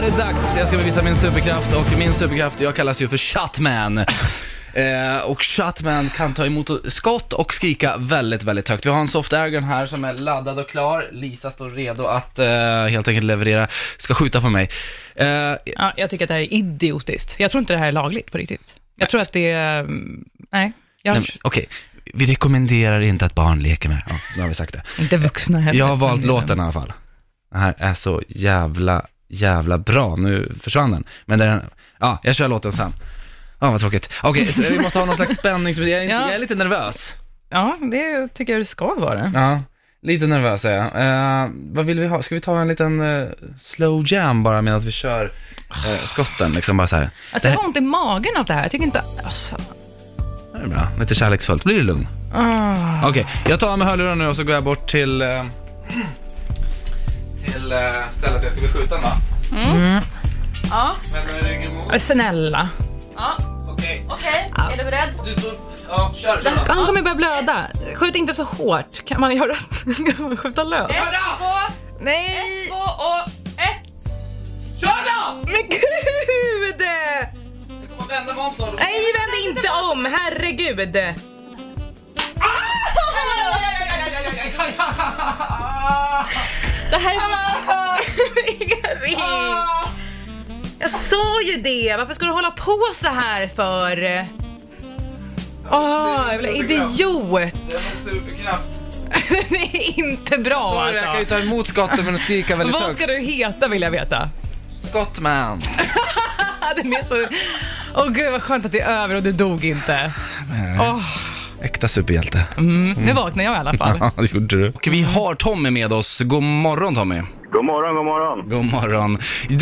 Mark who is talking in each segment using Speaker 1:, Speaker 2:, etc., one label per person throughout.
Speaker 1: det dags. Jag ska bevisa min superkraft och min superkraft, jag kallas ju för Chatman. Eh, och Chatman kan ta emot skott och skrika väldigt, väldigt högt. Vi har en soft airgun här som är laddad och klar. Lisa står redo att eh, helt enkelt leverera, ska skjuta på mig. Eh,
Speaker 2: Ja, jag tycker att det här är idiotiskt. Jag tror inte det här är lagligt på riktigt. Jag tror att det är... mm, Nej. Jag,
Speaker 1: Nej, men, Okej, vi rekommenderar inte att barn leker med det. Ja, nu har vi sagt det.
Speaker 2: Inte vuxna heller.
Speaker 1: Jag har valt
Speaker 2: för den delen.
Speaker 1: låten i alla fall. Den här är så jävla, jävla bra. Nu försvann den. Men den, ja, jag kör låten sen. Ja, vad tråkigt. Okej, så vi måste ha någon slags spänning. Jag är, inte,
Speaker 2: Ja.
Speaker 1: jag är lite nervös.
Speaker 2: Ja, det tycker jag det ska vara.
Speaker 1: Ja, lite nervös är jag. Eh, vad vill vi ha? Ska vi ta en liten eh, slow jam bara medan vi kör eh, skotten? Liksom bara så här.
Speaker 2: Alltså, jag
Speaker 1: Det
Speaker 2: har ont i magen av det här. Jag tycker inte... Alltså,
Speaker 1: Det är bra. Lite kärleksfullt. Blir du lugn?
Speaker 2: ah.
Speaker 1: Okej, jag tar av mig hörlurarna nu och så går jag bort till, eh, till eh, stället jag ska bli skjuten då.
Speaker 3: Ja,
Speaker 1: Vem är det ringer emot?
Speaker 2: Mm. Snälla.
Speaker 3: ja.
Speaker 1: Okej.
Speaker 3: Okej, är du beredd?
Speaker 1: Du, då, ja, kör, kör. då.
Speaker 2: Han kommer börja blöda. Skjut inte så hårt. Kan man göra... Kan man skjuta lös?
Speaker 3: Ett, två,
Speaker 2: Nej!
Speaker 3: två och ett.
Speaker 1: Kör då!
Speaker 2: Men gud!
Speaker 1: Jag kommer vända mig om sa du.
Speaker 2: Nej, vänd inte om. Herregud.
Speaker 3: Det här är så...
Speaker 2: Erik! Jag sa ju det. Varför ska du hålla på så här för?
Speaker 1: Ah!
Speaker 2: Åh, jävla Ah, idiot.
Speaker 1: Superkraft.
Speaker 2: Det är inte bra
Speaker 1: Sorry, jag kan ju
Speaker 2: alltså.
Speaker 1: ta emot skotten men skrika väldigt
Speaker 2: Vad
Speaker 1: högt.
Speaker 2: ska du heta vill jag veta.
Speaker 1: Skottman.
Speaker 2: Den är så... Åh gud vad skönt att det är över och du dog inte. Åh,
Speaker 1: Äkta superhjälte.
Speaker 2: mm. Nu vaknar jag i alla fall.
Speaker 1: Ja, det gjorde du. Och vi har Tommy med oss. God morgon Tommy.
Speaker 4: God morgon, god morgon.
Speaker 1: God morgon.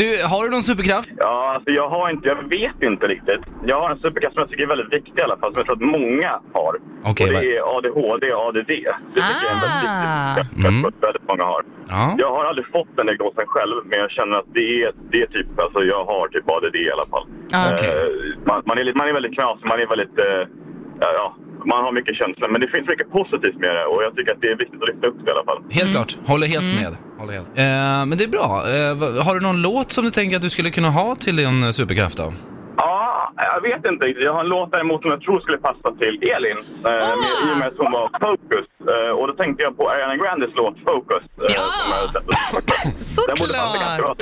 Speaker 1: Du, har du någon superkraft?
Speaker 4: Ja, alltså jag har inte, jag vet inte riktigt. Jag har en superkraft som jag tycker är väldigt viktig i alla fall, som jag tror att många har.
Speaker 1: Okej,
Speaker 4: och
Speaker 1: vad-
Speaker 4: det är ADHD och ADD. Det tycker jag är en väldigt
Speaker 2: Ah.
Speaker 4: viktig superkraft
Speaker 1: Mm.
Speaker 4: som väldigt många har.
Speaker 1: Ja.
Speaker 4: Jag har aldrig fått den diagnosen själv, men jag känner att det är, det är typ, alltså jag har typ ADD i alla fall.
Speaker 2: Ja,
Speaker 1: okej.
Speaker 4: Eh, man, man, är, lite- man är väldigt knasig, man är väldigt, eh, ja, ja, man har mycket känslor. Men det finns mycket positivt med det och jag tycker att det är viktigt att lyfta upp det i alla fall.
Speaker 1: Helt klart. Håller helt med. Håller helt. Eh, men det är bra. Eh, va- har du någon låt som du tänker att du skulle kunna ha till din eh, superkraft då?
Speaker 4: Ja, jag vet inte riktigt. Jag har en låt däremot som jag tror skulle passa till Elin.
Speaker 2: Ah!
Speaker 4: Eh, med, I och med att hon var Focus. Eh, och då tänkte jag på Ariana Grandes låt Focus. Eh,
Speaker 2: Ja!
Speaker 4: som jag har sett. Den borde passa ganska bra.
Speaker 2: Såklart.